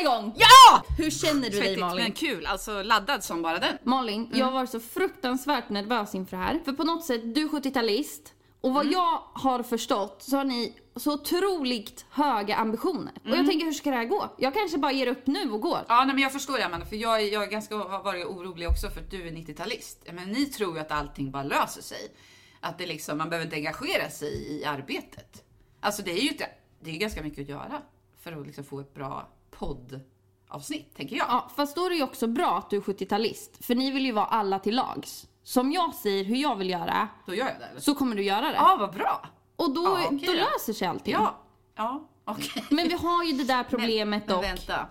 igång! Ja! Hur känner du dig Svettigt Malin? men kul, alltså laddad som bara den. Malin, Mm. jag var så fruktansvärt nervös inför det här. För på något sätt, du är 70-talist. Och Mm. vad jag har förstått så har ni så otroligt höga ambitioner. Och Mm. jag tänker, hur ska det här gå? Jag kanske bara ger upp nu och går. Ja, nej, men jag förstår det Amanda, för jag, är- jag är ganska, har varit orolig också för att du är 90-talist. Men ni tror ju att allting bara löser sig. Att det liksom, man behöver inte engagera sig i arbetet. Alltså det är ju inte, det är ju ganska mycket att göra för att liksom få ett bra poddavsnitt, tänker jag. Ja, fast då är det ju också bra att du är 70-talist. För ni vill ju vara alla till lags. Som jag säger hur jag vill göra, Då gör jag det. Eller? så kommer du göra det. Ja, vad bra! Och då, Ja, okej då då. löser sig allting. Ja, ja, okej. Men vi har ju det där problemet Men dock Vänta.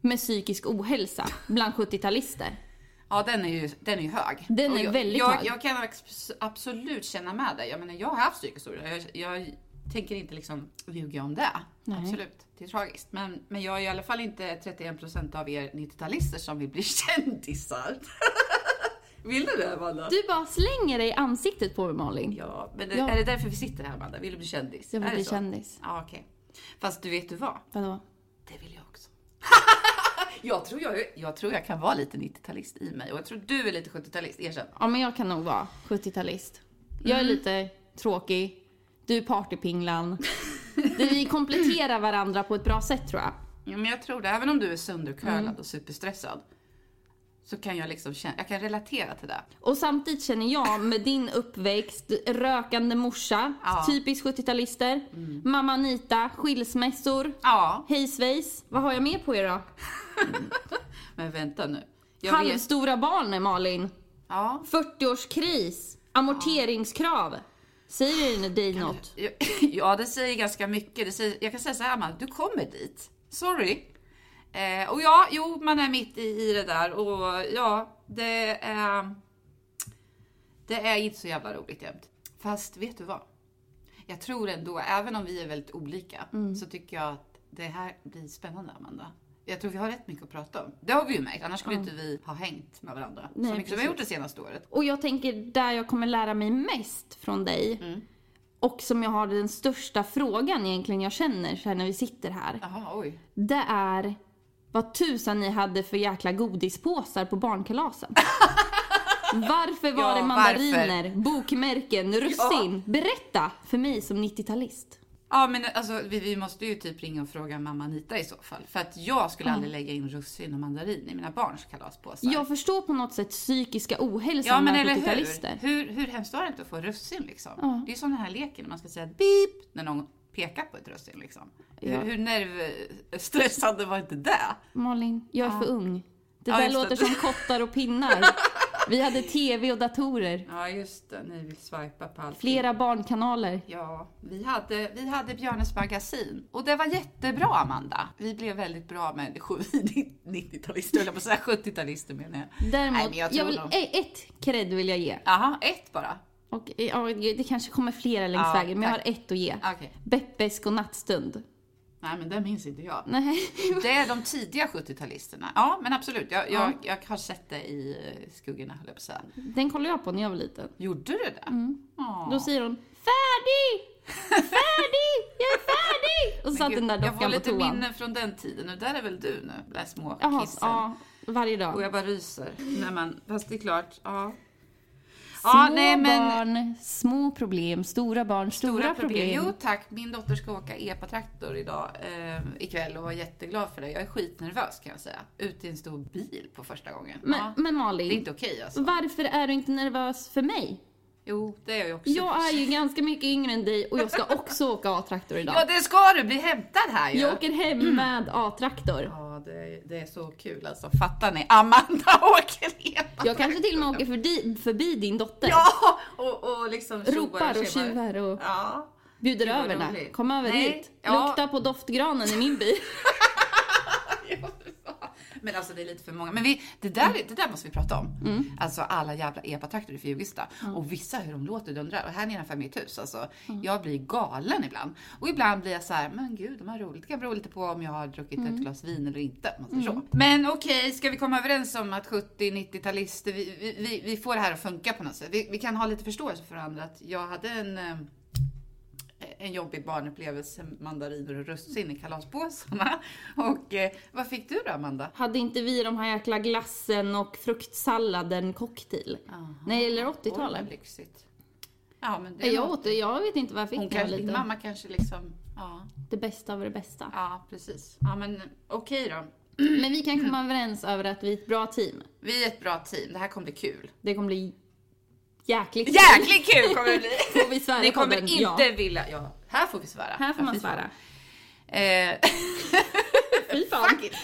med psykisk ohälsa bland 70-talister. Ja, den är ju, den är ju hög. Den Och är jag, väldigt jag, hög. Jag kan abs- absolut känna med dig. Jag menar, jag har haft psykisk oro. Jag, jag tänker inte liksom ljuga om det. Nej. Absolut, det är tragiskt. Men, men jag är i alla fall inte 31% av er 90-talister som vill bli kändisar. vill du det, Amanda? Du bara slänger dig i ansiktet på mig Malin. Ja, men det, Ja. är det därför vi sitter här, Amanda? Vill du bli kändis? Jag vill Är det bli så? kändis. Ja, okej. Fast du vet du vad? Vadå? Det vill jag också. jag, tror jag, jag tror jag kan vara lite 90-talist i mig. Och jag tror du är lite 70-talist, erkänn. Ja men jag kan nog vara 70-talist. Jag är Mm. lite tråkig. Du är partypinglan. Det- Vi kompletterar varandra på ett bra sätt tror jag. Ja, men jag tror det. Även om du är söndercurlad och superstressad så kan jag liksom känna, jag kan relatera till det. Och samtidigt känner jag med din uppväxt, rökande morsa, Ja. Mm. typiskt 70-talister, mamma Anita, skilsmässor, Ja, hej svejs. Vad har jag mer på er då? men vänta nu. Jag vet, Halvstora barn Malin. ja, 40-årskris, amorteringskrav. Säger det dig något? ja, det säger ganska mycket. Det säger, jag kan säga så här, man, du kommer dit. Sorry. Eh, och ja, jo, man är mitt i, i det där och ja, det är, det är inte så jävla roligt jämt. Fast vet du vad? Jag tror ändå, även om vi är väldigt olika, Mm. så tycker jag att det här blir spännande, Amanda. Jag tror vi har rätt mycket att prata om. Det har vi ju märkt, annars skulle inte vi ha hängt med varandra Nej, så mycket som vi precis. har gjort det senaste året. Och jag tänker där jag kommer lära mig mest från dig Mm. och som jag har den största frågan egentligen jag känner så här när vi sitter här. Jaha, oj. Det är vad tusan ni hade för jäkla godispåsar på barnkalasen. Varför var Ja, varför? det mandariner, bokmärken, russin? Berätta för mig som 90-talist. Ja, men alltså, vi, vi måste ju typ ringa och fråga mamma Anita i så fall. För att jag skulle aldrig lägga in russin och mandarin i mina barns kalaspåsar. Jag förstår på något sätt psykiska ja ohälsan men bland eller 70-talister. hur? hur? Hur hemskt var det inte att få russin liksom? Det är ju som den här leken när man ska säga beep när någon pekar på ett russin liksom. Ja. Hur, hur nervstressande var inte det? Malin, jag är för ung. Det Ja, där just det. låter som kottar och pinnar. Vi hade tv och datorer. Ja, just det. Ni vill swipa på allt. Flera barnkanaler. Ja, vi hade, vi hade Björnes magasin och det var jättebra Amanda. Vi blev väldigt bra människor, vi 90-talister höll jag på att säga, 70-talister menar jag. Däremot, Nej, men jag jag tror vill, nog- eh, ett cred vill jag ge. Jaha, ett bara? Och, eh, ja, det kanske kommer flera längs Ja, vägen, men jag har tack. ett att ge. Okej. Beppes godnattstund. Nej, men det minns inte jag. Nej. Det är de tidiga 70-talisterna. Ja, men absolut. Jag, jag, jag har sett det i eh, skuggorna, höll jag på att säga. Den kollade jag på när jag var liten. Gjorde du det? Ja. Då säger hon Färdig! Färdig! Jag är färdig! Och så satt Gud, den där Jag får dockan på lite eh, toan. minnen från den tiden. Och där är väl du nu, den här små Jaha, kissen. ja, varje Och dag. jag bara ryser. Nej, men, fast det är klart. Ja. Små Ja, nej, men- barn, små problem. Stora barn, stora, problem. Jo tack, min dotter ska åka epatraktor idag eh, ikväll och var jätteglad för det. Jag är skitnervös kan jag säga. Ute i en stor bil på första gången. Men, ja. men Det är Malin, inte okej alltså. varför är du inte nervös för mig? Jo, det är jag ju också. Jag är ju ganska mycket yngre än dig och jag ska också åka A-traktor idag. Ja, det ska du! Bli hämtad här ju! Jag åker hem Mm. med A-traktor. Ja, det är, det är så kul alltså. Fattar ni? Amanda åker epatraktor! Jag kanske till och med åker förbi, förbi din dotter. Ja! Och, och liksom tjoar Ropar och tjimar. tjuvar och Ja. bjuder Gud, vad över där. roligt. Kom över Nej, hit. ja. Lukta på doftgranen i min bil. Ja, för fan. Men alltså det är lite för många. Men vi, det, där, det där måste vi prata om. Alltså alla jävla epatraktorer i Fjugesta. Och vissa hur de låter dundrar. Och här nedanför mitt hus alltså. Jag blir galen ibland. Och ibland blir jag så här, men gud de har roligt. Det kan bero lite på om jag har druckit ett glas vin eller inte. om Man säger så. Men okej, ska vi komma överens om att 70-90-talister, vi, vi, vi, vi får det här att funka på något sätt. Vi, vi kan ha lite förståelse för varandra. Att jag hade en eh, en jobbig barnupplevelse, mandariner och russin i kalaspåsarna. Och eh, vad fick du då Amanda? Hade inte vi de här jäkla glassen och fruktsalladen cocktail? När det gäller Oj, 80-talet. vad lyxigt. Ja, men det Nej, Jag åt det, jag vet inte vad jag fick Hon när jag var kanske, liten. din mamma kanske liksom, ja, Det bästa av det bästa. ja precis. Ja men okej då. Men vi kan Mm. komma överens över att vi är ett bra team. Vi är ett bra team, det här kommer bli kul. Det kommer bli jäkligt Jäkligt kul kommer det bli! Får vi svära Ni i kommer podden? inte Ja. vilja, ja, här får vi svära. Här får man vi svära. Eh, Fy fan. Fuck it.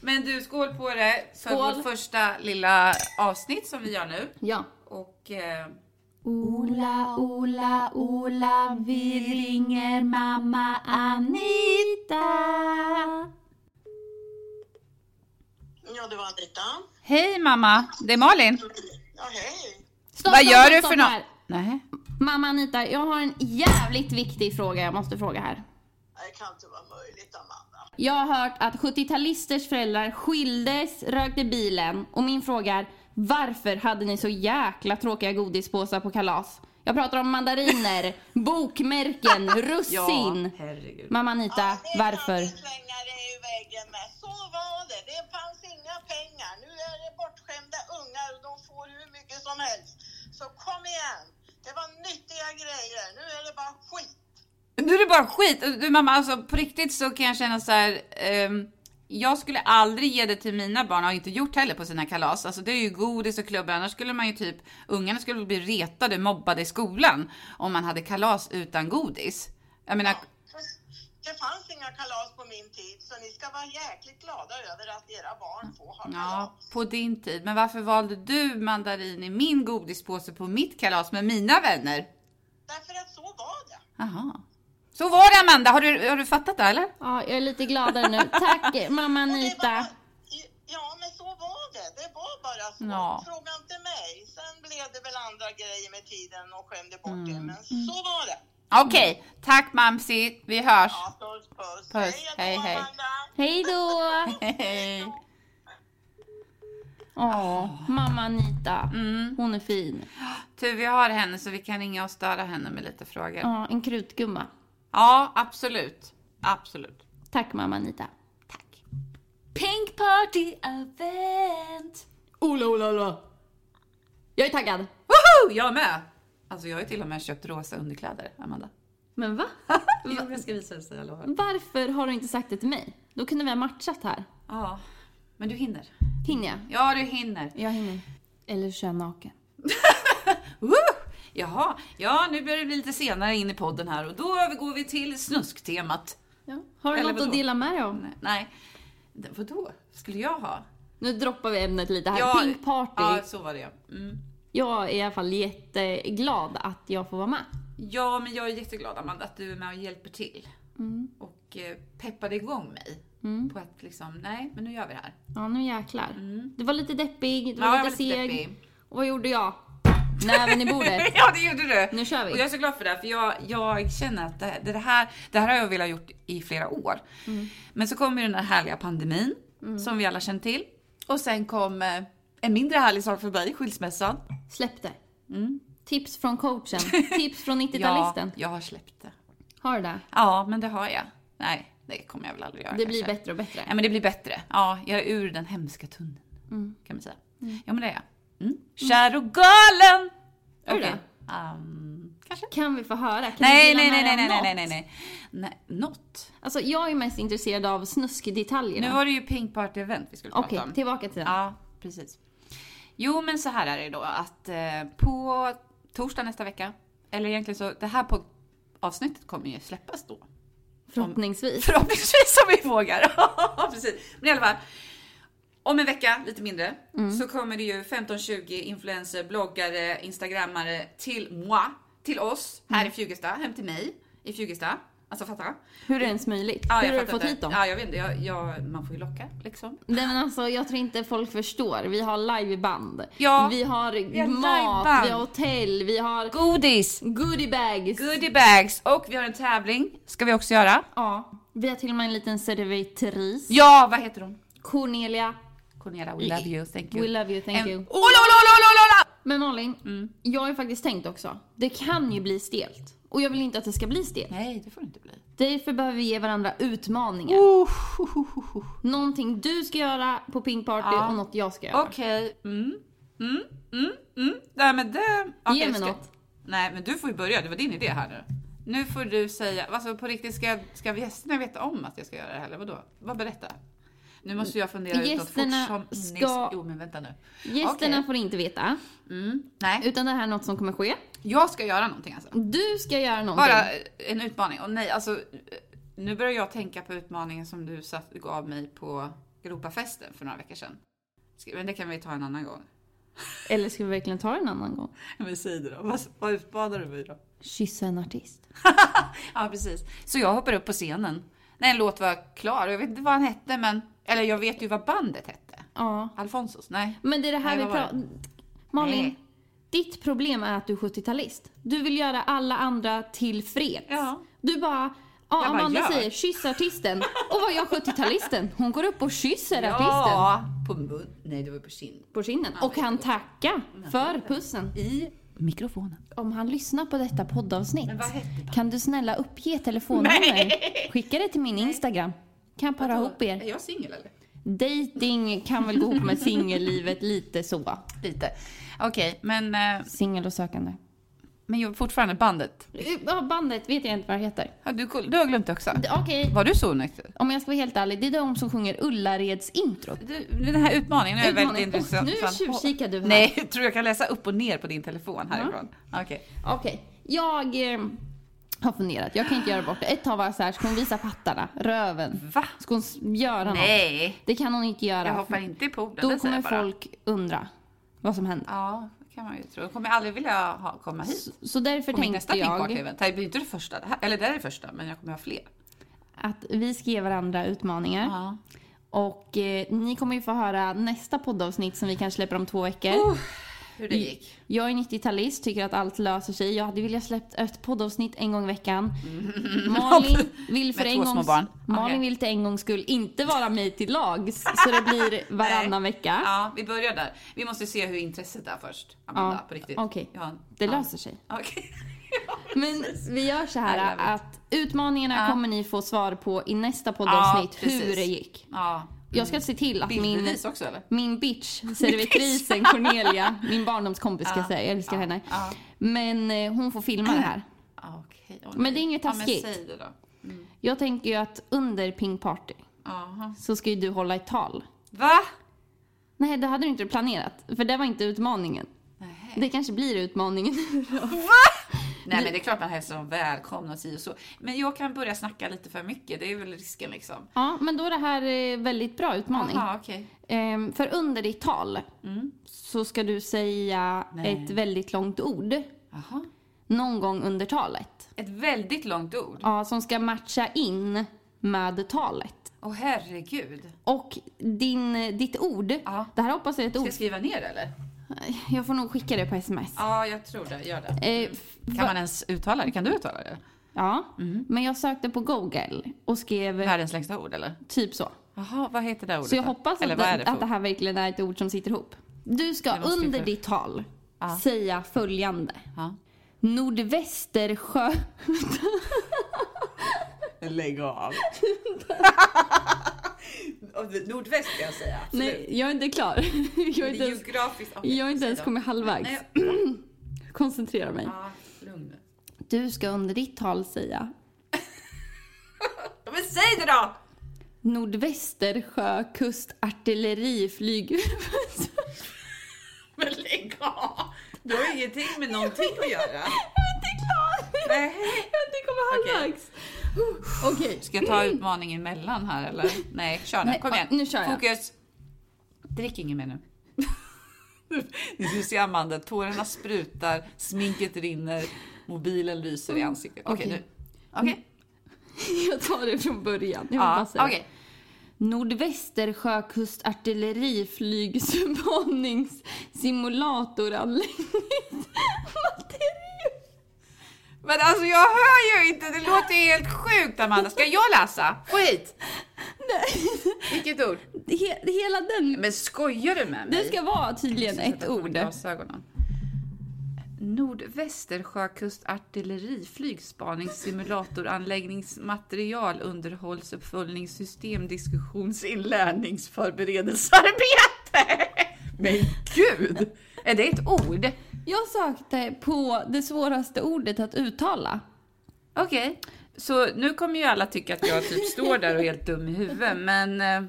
Men du, skål på det för Skål. vårt första lilla avsnitt som vi gör nu. Ja. Och eh, Ola, Ola, Ola, vi ringer mamma Anita. Ja, det var Anita. Hej mamma, det är Malin. Ja, hej. Stopp, Vad stopp, gör stopp, du stopp för något? här. Nej. Mamma Anita, jag har en jävligt viktig fråga jag måste fråga här. Nej, Det kan inte vara möjligt, Amanda. Jag har hört att 70-talisters föräldrar skildes, rökte bilen och min fråga är varför hade ni så jäkla tråkiga godispåsar på kalas? Jag pratar om mandariner, bokmärken, russin. herregud. Mamma Anita, det kan varför? vi slänga dig i väggen med. Så var det. Det fanns inga pengar. Nu är det bortskämda ungar och de får hur mycket som helst. Så kom igen. Det var nyttiga grejer. Nu är det bara skit. Nu är det bara skit. Du mamma, alltså på riktigt så kan jag känna så här. ehm, jag skulle aldrig ge det till mina barn, och har inte gjort heller på sina kalas. Alltså det är ju godis och klubbor, annars skulle man ju typ, ungarna skulle bli retade, mobbade i skolan om man hade kalas utan godis. Jag menar, Det fanns inga kalas på min tid, så ni ska vara jäkligt glada över att era barn får ha kalas. ja, på din tid. Men varför valde du mandarin i min godispåse på mitt kalas med mina vänner? Därför att så var det. Jaha. Så var det Amanda, har du, har du fattat det eller? Ja, jag är lite gladare nu. Tack mamma Och det Anita. var- Ja, men så var det. Det var bara så. Ja. Fråga inte mig. Sen blev det väl andra grejer med tiden och skämde bort Mm. det. Men så var det. Okej, tack mamsi, vi hörs. Ja, puss, Puss. puss. då, Hej, hej. Amanda. Hej då! Hej. Åh, mamma Anita. Hon är fin. Tur vi har henne så vi kan ringa och störa henne med lite frågor. Ja, en krutgumma. Ja, absolut. Absolut. Tack mamma Anita. Tack. Pink party event. Ola, Ola, Ola. Jag är taggad. Woho! Jag med! Alltså jag har ju till och med köpt rosa underkläder, Amanda. Men va? Jo, Ah, jag ska visa dig, jag lovar. Varför har du inte sagt det till mig? Då kunde vi ha matchat här. Ja, men du hinner. Hinner jag? Ja, du hinner. Jag hinner. Eller så kör jag naken. Woo! Jaha, ja nu börjar det bli lite senare in i podden här och då övergår vi till snusktemat. Ja. Har du Eller något vadå? att dela med dig om? Nej, Nej, D- vadå? Skulle jag ha? Nu droppar vi ämnet lite här. Ja, Pink party. Ja, så var det ja. Mm. Jag är i alla fall jätteglad att jag får vara med. Ja, men jag är jätteglad Amanda att du är med och hjälper till. Mm. Och eh, peppade igång mig. På att liksom, nej men nu gör vi det här. Ja, nu jäklar. Du var lite deppig, du Mm. Ja, var jag var lite lite seg. deppig. Och vad gjorde jag? Näven i bordet. ja, det gjorde du! Nu kör vi. Och jag är så glad för det, här, för jag, jag känner att det, det, här, det här har jag velat gjort i flera år. Mm. Men så kom ju den här härliga pandemin, som vi alla känner till. Och sen kom eh, en mindre härlig sak för mig, skilsmässan. Släpp det. Mm. Tips från coachen. Tips från 90-talisten. Ja, jag har släppt det. Har du det? Ja, men det har jag. Nej, det kommer jag väl aldrig göra Det blir kanske. bättre och bättre. Ja men det blir bättre. Ja, jag är ur den hemska tunneln. Mm. Kan man säga. Ja men det är jag. Mm. Kär och galen! Är du Okej. det? Ehm, kanske? Kan vi få höra? Kan Nej du dela nej nej med dig nej av nej något? nej nej nej. Nej, Något. Alltså jag är mest intresserad av Nu snuskdetaljerna. var det ju Pink Party Event vi skulle Okej, prata om. tillbaka till den. Ja, precis. Jo men så här är det då att eh, på torsdag nästa vecka, eller egentligen så, det här på avsnittet kommer ju släppas då. Förhoppningsvis. Förhoppningsvis om vi vågar. Ja, Precis. Men i alla fall. Om en vecka, lite mindre, Mm. så kommer det ju 15-20 influencer, bloggare, instagrammare till moi, till oss Mm. här i Fjugesta, hem till mig i Fjugesta. Alltså fatta. Hur är det ens möjligt? Ja, jag Hur har du fattar fått inte. hit dem? Ja, jag vet inte. Jag, jag, man får ju locka liksom. Nej men alltså jag tror inte folk förstår. Vi har liveband. Ja, vi har har mat, liveband. vi har hotell, vi har Godis! goodiebags. Goodiebags! Och vi har en tävling, ska vi också göra. ja. Vi har till och med en liten servitris. Ja, vad heter hon? Cornelia, Cornelia, we love you, thank you. we love you, thank En- you. Ola, Ola, Ola, Ola, Ola! Men Malin, Mm. jag har ju faktiskt tänkt också. Det kan ju bli stelt. Och jag vill inte att det ska bli stelt. Nej, det får det inte bli. Därför behöver vi ge varandra utmaningar. Någonting du ska göra på Pink Party Ja. och något jag ska göra. Okej. Mm. Mm. Mm. Mm. Nej men det... okej, Ge mig ska- något. Nej men du får ju börja, det var din idé här nu. Nu får du säga, alltså på riktigt ska, ska gästerna veta om att jag ska göra det här eller vadå? Vad berätta? Nu måste jag fundera utåt fort Gästerna som ska- ska... Jo men vänta nu. Gästerna Okej. får inte veta. Mm. Nej, Utan det här är något som kommer ske. jag ska göra någonting alltså. Du ska göra någonting. Bara en utmaning. Och nej, alltså nu börjar jag tänka på utmaningen som du satt, gav mig på Europafesten för några veckor sedan. Ska- Men det kan vi ta en annan gång. Eller ska vi verkligen ta det en annan gång? Men säg det då, vad, vad utmanar du mig då? Kyssa en artist. Ja, precis. Så jag hoppar upp på scenen när en låt var klar. Jag vet inte vad han hette, men... Eller jag vet ju vad bandet hette. Ja. Alfonsos? Nej. Men det är det här Nej, vi vad var pratar... Malin, Nej. ditt problem är att du är 70-talist. Du vill göra alla andra tillfreds. Ja. Du bara... Ja, Jag bara Amanda gör. säger kyss artisten. Och vad gör 70-talisten? Hon går upp och kysser artisten Ja, på mun. Nej, det var på kind. på kinden. Och han tackar för pussen. I mikrofonen. Om han lyssnar på detta poddavsnitt Men vad hette kan du snälla uppge telefonnummer? Skicka det till min Instagram. Kan para ihop Är er. jag singel eller? Dating kan väl gå ihop med singellivet lite så. Lite. Okej, men, eh, Singel och sökande. men jag fortfarande bandet. Ja, bandet vet jag inte vad det heter. Ja, du, koll- du har glömt det också. D- Okej, Var du så onykter? om jag ska vara helt ärlig, det är de som sjunger Ullareds introt. Du, Den här utmaningen är Utmaning. väldigt Åh, intressant. nu tjuvkikar du här. Nej, jag tror jag kan läsa upp och ner på din telefon härifrån. Okej. Okej, jag eh, har funderat. Jag kan inte göra bort det. Ett tag var jag så här, ska hon visa pattarna? Röven? Va? Ska hon s- göra något? Nej, Det kan hon inte jag göra. hoppar inte i poolen. Då det säger kommer jag bara. folk undra vad som händer. Ja, det kan man ju tro. Jag kommer aldrig vilja ha, komma hit. Så därför På min nästa tänkte Pink Party jag event. Det här blir inte det första. Det här, eller det här är det första, men jag kommer ha fler. att vi ska ge varandra utmaningar. Ja. Och eh, ni kommer ju få höra nästa poddavsnitt som vi kanske släpper om två veckor. Hur Mm. det gick. Jag är 90-talist, tycker att allt löser sig. Jag hade velat släppt ett poddavsnitt en gång i veckan. Malin vill för Mm. Med en två gångs... små barn. Malin Okej. vill till en gångs skull inte vara mig till lags. Så det blir varannan vecka. Ja, vi börjar där. Vi måste se hur intresset är först. Amanda, Ja, på riktigt. okej. Ja, en- Det ja. löser sig. Okej. Men vi gör så I här love it. att utmaningarna Ja. kommer ni få svar på i nästa poddavsnitt Ja, hur precis. det gick. Ja. Jag ska se till att min Bildbevis också eller? Min bitch, servitrisen Cornelia, min barndomskompis ska jag säga, jag älskar henne. ja. Men eh, hon får filma det här. Ja, Okej. Åh, Men nej. det är inget taskigt. Ja, men säg det då. Jag tänker ju att under Pink Party Aha. så ska ju du hålla ett tal. Va? Nej, det hade du inte planerat, för det var inte utmaningen. Nej. Det kanske blir utmaningen. Nej men det är klart man hälsar dem välkomna och si och så. Men jag kan börja snacka lite för mycket, det är väl risken liksom. ja, men då är det här eh, väldigt bra utmaning. Ja, okej. Ehm, för under ditt tal så ska du säga Mm. Nej. ett väldigt långt ord Jaha. någon gång under talet. Ett väldigt långt ord. Ja, som ska matcha in med talet. Åh herregud. Och din, ditt ord. Ja. Det här hoppas jag är ett Ska ord. jag skriva ner det eller? Jag får nog skicka det på sms. Ja, jag tror det. Gör det. Eh, f- Kan man ens uttala det? Kan du uttala det? ja. Mm. Men jag sökte på Google och skrev Världens längsta ord eller? typ så. Jaha, vad heter det ordet? Så jag då? hoppas eller att, vad är det det, för att det ord? här verkligen är ett ord som sitter ihop. Du ska Det måste ju under för- ditt tal säga följande. Ja. Nordvästersjö... Lägg av. Nordväst kan jag säga. Nej, jag är inte klar. Jag är inte ens, geografiskt. okej, jag är inte säg ens då. kommit halvvägs. Nej, Koncentrera mig. Ja, lugn nu. Du ska under ditt tal säga Ja, Men säg det då! Nordvästersjö kustartilleriflyg... Men lägg av! Du har ingenting med någonting att göra. Jag är inte klar! Nej. Jag har inte kommit Okej. halvvägs. Okej. Ska jag ta utmaningen emellan här eller? Nej, kör nu. Mm. Nej, Kom ja, igen. nu kör jag. Fokus. Drick inget mer nu. Ni ska se Amanda, tårarna sprutar, sminket rinner, mobilen lyser i ansiktet. Okej Okej. nu. Okej. Mm. Jag tar det från början. Jag vill Ja, bara säga. okej. Nordvästersjö kustartilleriflygspaningssimulatoranläggning. Material. Men alltså jag hör ju inte, det låter ju helt sjukt Amanda. Ska jag läsa? Få hit! Vilket ord? He- hela den. Men skojar du med mig? Det ska vara tydligen Jag måste ett sätta på mig ord. Glasögonen. Nordvästersjökustartilleri flygspaningssimulatoranläggningsmaterial underhållsuppföljningssystem diskussionsinlärningsförberedelsearbete. Men gud! Är det ett ord? Jag sökte på det svåraste ordet att uttala. Okej. Så nu kommer ju alla tycka att jag typ står där och är helt dum i huvudet, men eh,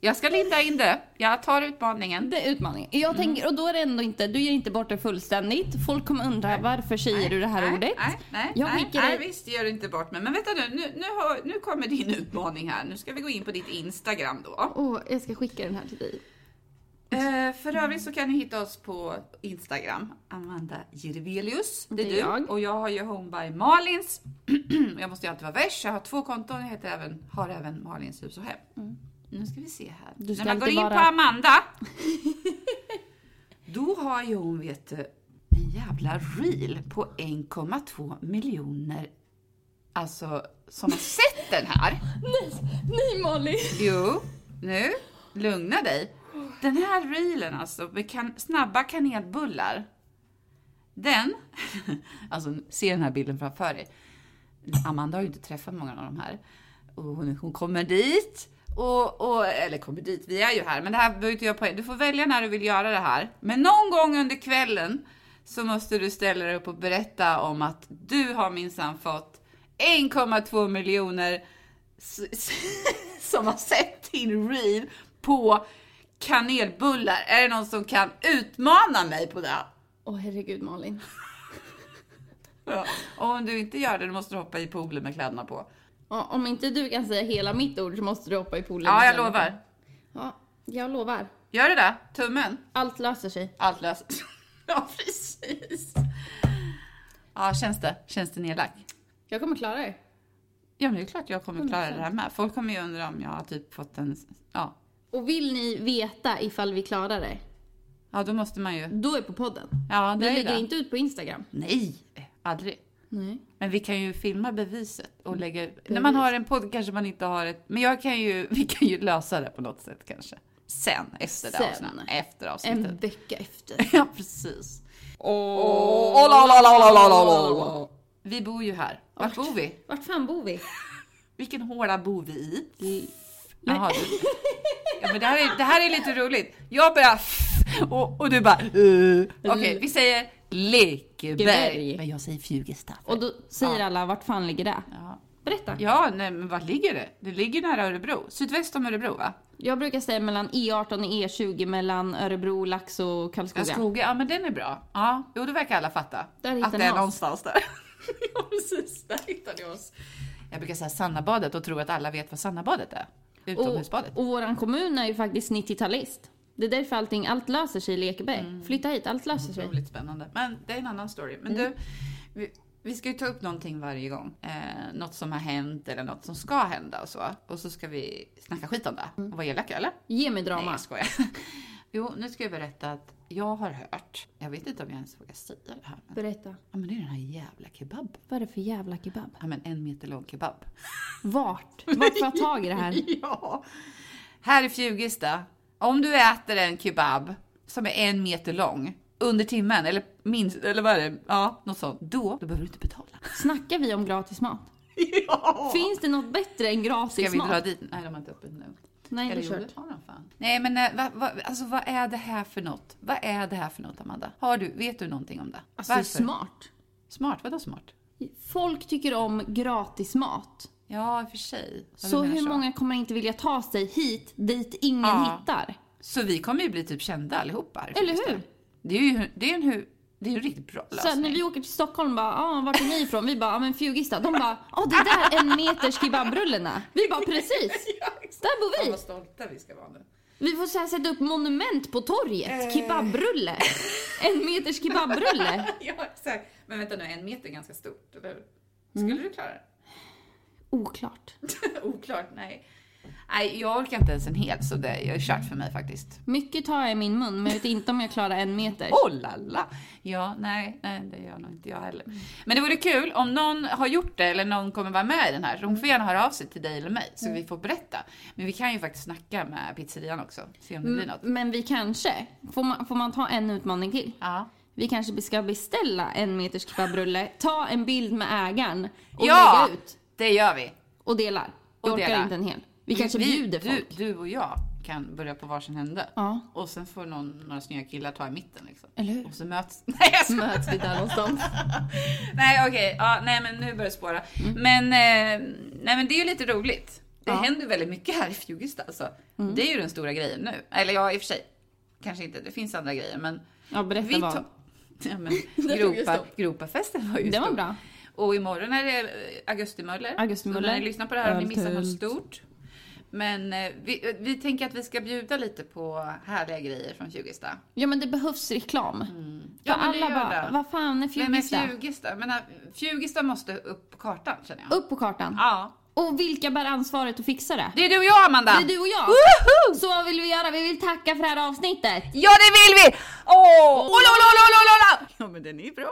jag ska linda in det. Jag tar utmaningen. Det är utmaningen. Jag Mm. tänker, och då är det ändå inte, du ger inte bort det fullständigt. Folk kommer undra varför säger du det här nej, ordet? Nej, nej, Jag nej, skickar nej, dig- visst gör du inte bort mig. Men vänta nu, nu, nu, har, nu kommer din utmaning här. Nu ska vi gå in på ditt Instagram då. Åh, jag ska skicka den här till dig. Eh, för övrigt så kan ni hitta oss på Instagram. Amanda Jirvelius, det är Det du. är jag. Och jag har ju Home by Malins. jag måste ju alltid vara värst. Jag har två konton. Jag heter även, har även Malins hus och hem. Nu ska vi se här. Mm. Du ska När man går alltid in vara- på Amanda. då har ju hon, vet du, en jävla reel på 1,2 miljoner. Alltså, som har sett den här. Nej Molly! Jo, nu, lugna dig. Den här reelen alltså, med kan, snabba kanelbullar. Den, alltså se den här bilden framför er. Amanda har ju inte träffat många av de här. Och hon, hon kommer dit, och, och, eller kommer dit, vi är ju här, men det här behöver inte jag på Du får välja när du vill göra det här. Men någon gång under kvällen så måste du ställa dig upp och berätta om att du har minsann fått 1,2 miljoner s- s- som har sett din reel på kanelbullar. Är det någon som kan utmana mig på det? Åh herregud Malin. Ja. Och om du inte gör det, då måste du hoppa i poolen med kläderna på. Ja, Om inte du kan säga hela mitt ord så måste du hoppa i poolen. Ja, jag istället. lovar. Ja, jag lovar. Gör det där, tummen. Allt löser sig. Allt löst. Ja, precis. Ja, känns det? Känns det nedlagt? Jag kommer klara det. Ja, men det är klart jag kommer klara det här med. Folk kommer ju undra om jag har typ fått en... Ja, Och vill ni veta ifall vi klarar det, ja då måste man ju... då är på podden. Ja, Vi det är lägger det. inte ut på Instagram. Nej, aldrig. Nej. Mm. Men vi kan ju filma beviset och lägga ut. När man har en podd kanske man inte har ett... Men jag kan ju, vi kan ju lösa det på något sätt kanske. Sen, efter det Sen. avsnittet. Efter avsnittet. En vecka efter. Ja, precis. Åh, la, la, la, la, la, la, la. Vi bor ju här. Vart bor vi? Vart fan bor vi? Vilken håla bor vi i? Jaha, du. Ja, men det, här är, det här är lite roligt. Jag börjar och, och du bara... Uh. Okej, vi säger Lekeberg. Lekeberg. Men jag säger Fjugesta. Och då säger alla, vart fan ligger det? Ja. Berätta. Ja, nej, men var ligger det? Det ligger nära Örebro. Sydväst om Örebro, va? Jag brukar säga mellan E18 och E20 mellan Örebro, Lax och Karlskoga. Skoga. Ja, men den är bra. Ja, jo, det verkar alla fatta. Där hittar att det ni är oss. någonstans där. ja, precis. Där hittar ni oss. Jag brukar säga Sannabadet och tro att alla vet vad Sannabadet är. Utomhusbadet. och, och våran kommun är ju faktiskt 90-talist. Det är därför allting, allt löser sig i Lekeberg. Mm. Flytta hit, allt löser sig. Otroligt spännande. Men det är en annan story. Men Mm. du, vi, vi ska ju ta upp någonting varje gång. Eh, något som har hänt eller något som ska hända och så. Och så ska vi snacka skit om det. Mm. Och vara elaka, eller? Ge Nej, mig drama. jag skojar. Jo, nu ska jag berätta att jag har hört, jag vet inte om jag ens vågar säga det här, men, Berätta. ja, men det är den här jävla kebab. Vad är det för jävla kebab? Ja, men en meter lång kebab. Vart? Vart får jag tag i det här? Ja. Här i Fjugesta, om du äter en kebab som är en meter lång under timmen, eller minst, eller vad är det? Ja, något sånt. Då, då behöver du inte betala. Snackar vi om gratis mat? Ja! Finns det något bättre än Ska gratis vi dra mat? dit? Nej, de har inte öppet nu. Nej, det Eller är jo, kört. det har de fan. Nej, men eh, vad- vad- alltså, vad är det här för något? Vad är det här för något, Amanda? Har du, vet du någonting om det? Alltså, det är smart. Smart? Vadå smart? Folk tycker om gratis mat. Ja, i och för sig. Ja, du Så menar hur många kommer inte vilja ta sig hit, dit ingen Ja. hittar? Så vi kommer ju bli typ kända allihopa. här, Eller faktiskt. hur? Det är ju det är en, hu- det är en riktigt bra Så här, lösning. när vi åker till Stockholm bara, ah, vart är ni ifrån? Vi bara, ah, men Fjugista. De bara, ah, det där är en meters kebabrullarna. Vi bara, precis. Där bor vi. stolta vi ska vara nu. Vi får så här sätta upp monument på Eh. torget. Kebabrulle. En meters kebabrulle. ja, exakt. Men vänta nu, en meter är ganska stort, eller hur? Skulle Mm. du klara det? Oklart. Oklart, nej. Nej, jag orkar inte ens en hel, så det är kört för mig faktiskt. Mycket tar jag i min mun, men jag vet inte om jag klarar en meter. Oh la la! Ja, nej, nej, det gör nog inte jag heller. Mm. Men det vore kul om någon har gjort det eller någon kommer vara med i den här. De Mm. får gärna höra av sig till dig eller mig så vi får berätta. Men vi kan ju faktiskt snacka Mm. med pizzerian också, se om det blir något. Men vi kanske. Får man, får man ta en utmaning till? Ja. vi kanske ska beställa en meters kebabrulle, ta en bild med ägaren och ja, lägga ut det gör vi. och delar. Vi Och orkar delar. inte en hel. Vi kanske bjuder du, folk. du och jag kan börja på varsin hände. Ja. Och sen får någon, några snygga killar ta i mitten liksom. Eller hur? Och så möts... Nej jag skojar. Möts vi där någonstans. Mm. Nej okej, ja, nej men nu börjar det spåra. Men, eh, nej, men det är ju lite roligt. Det Ja. Mm. händer ju väldigt mycket här i Fjugesta alltså. Det är ju den stora grejen nu. Eller ja i och för sig, kanske inte. Det finns andra grejer men. Ja, berätta Vi vad. tar... Ja, men, Det tog ju gropa, stopp. Gropafesten var ju Det var stor. bra. Och imorgon är det eh, augustimöller. Augustimöller. Så när ni lyssnar på det här har ni missat något Öltält. stort. Men eh, vi, eh, vi tänker att vi ska bjuda lite på härliga grejer från Fjugesta. Ja men det behövs reklam. För Mm. Ja, men det alla gör bara, det. vad fan är Vem är Fjugesta? Fjugesta? Men, eh, Fjugesta måste upp på kartan känner jag. Upp på kartan. Ja. Och vilka bär ansvaret att fixa det? Det är du och jag Amanda! Det är du och jag. Woho! Så vill vi göra, vi vill tacka för det här avsnittet. Ja det vill vi! Åh! Oh. Oh, oh, oh, oh, oh, oh. Ja men den är bra!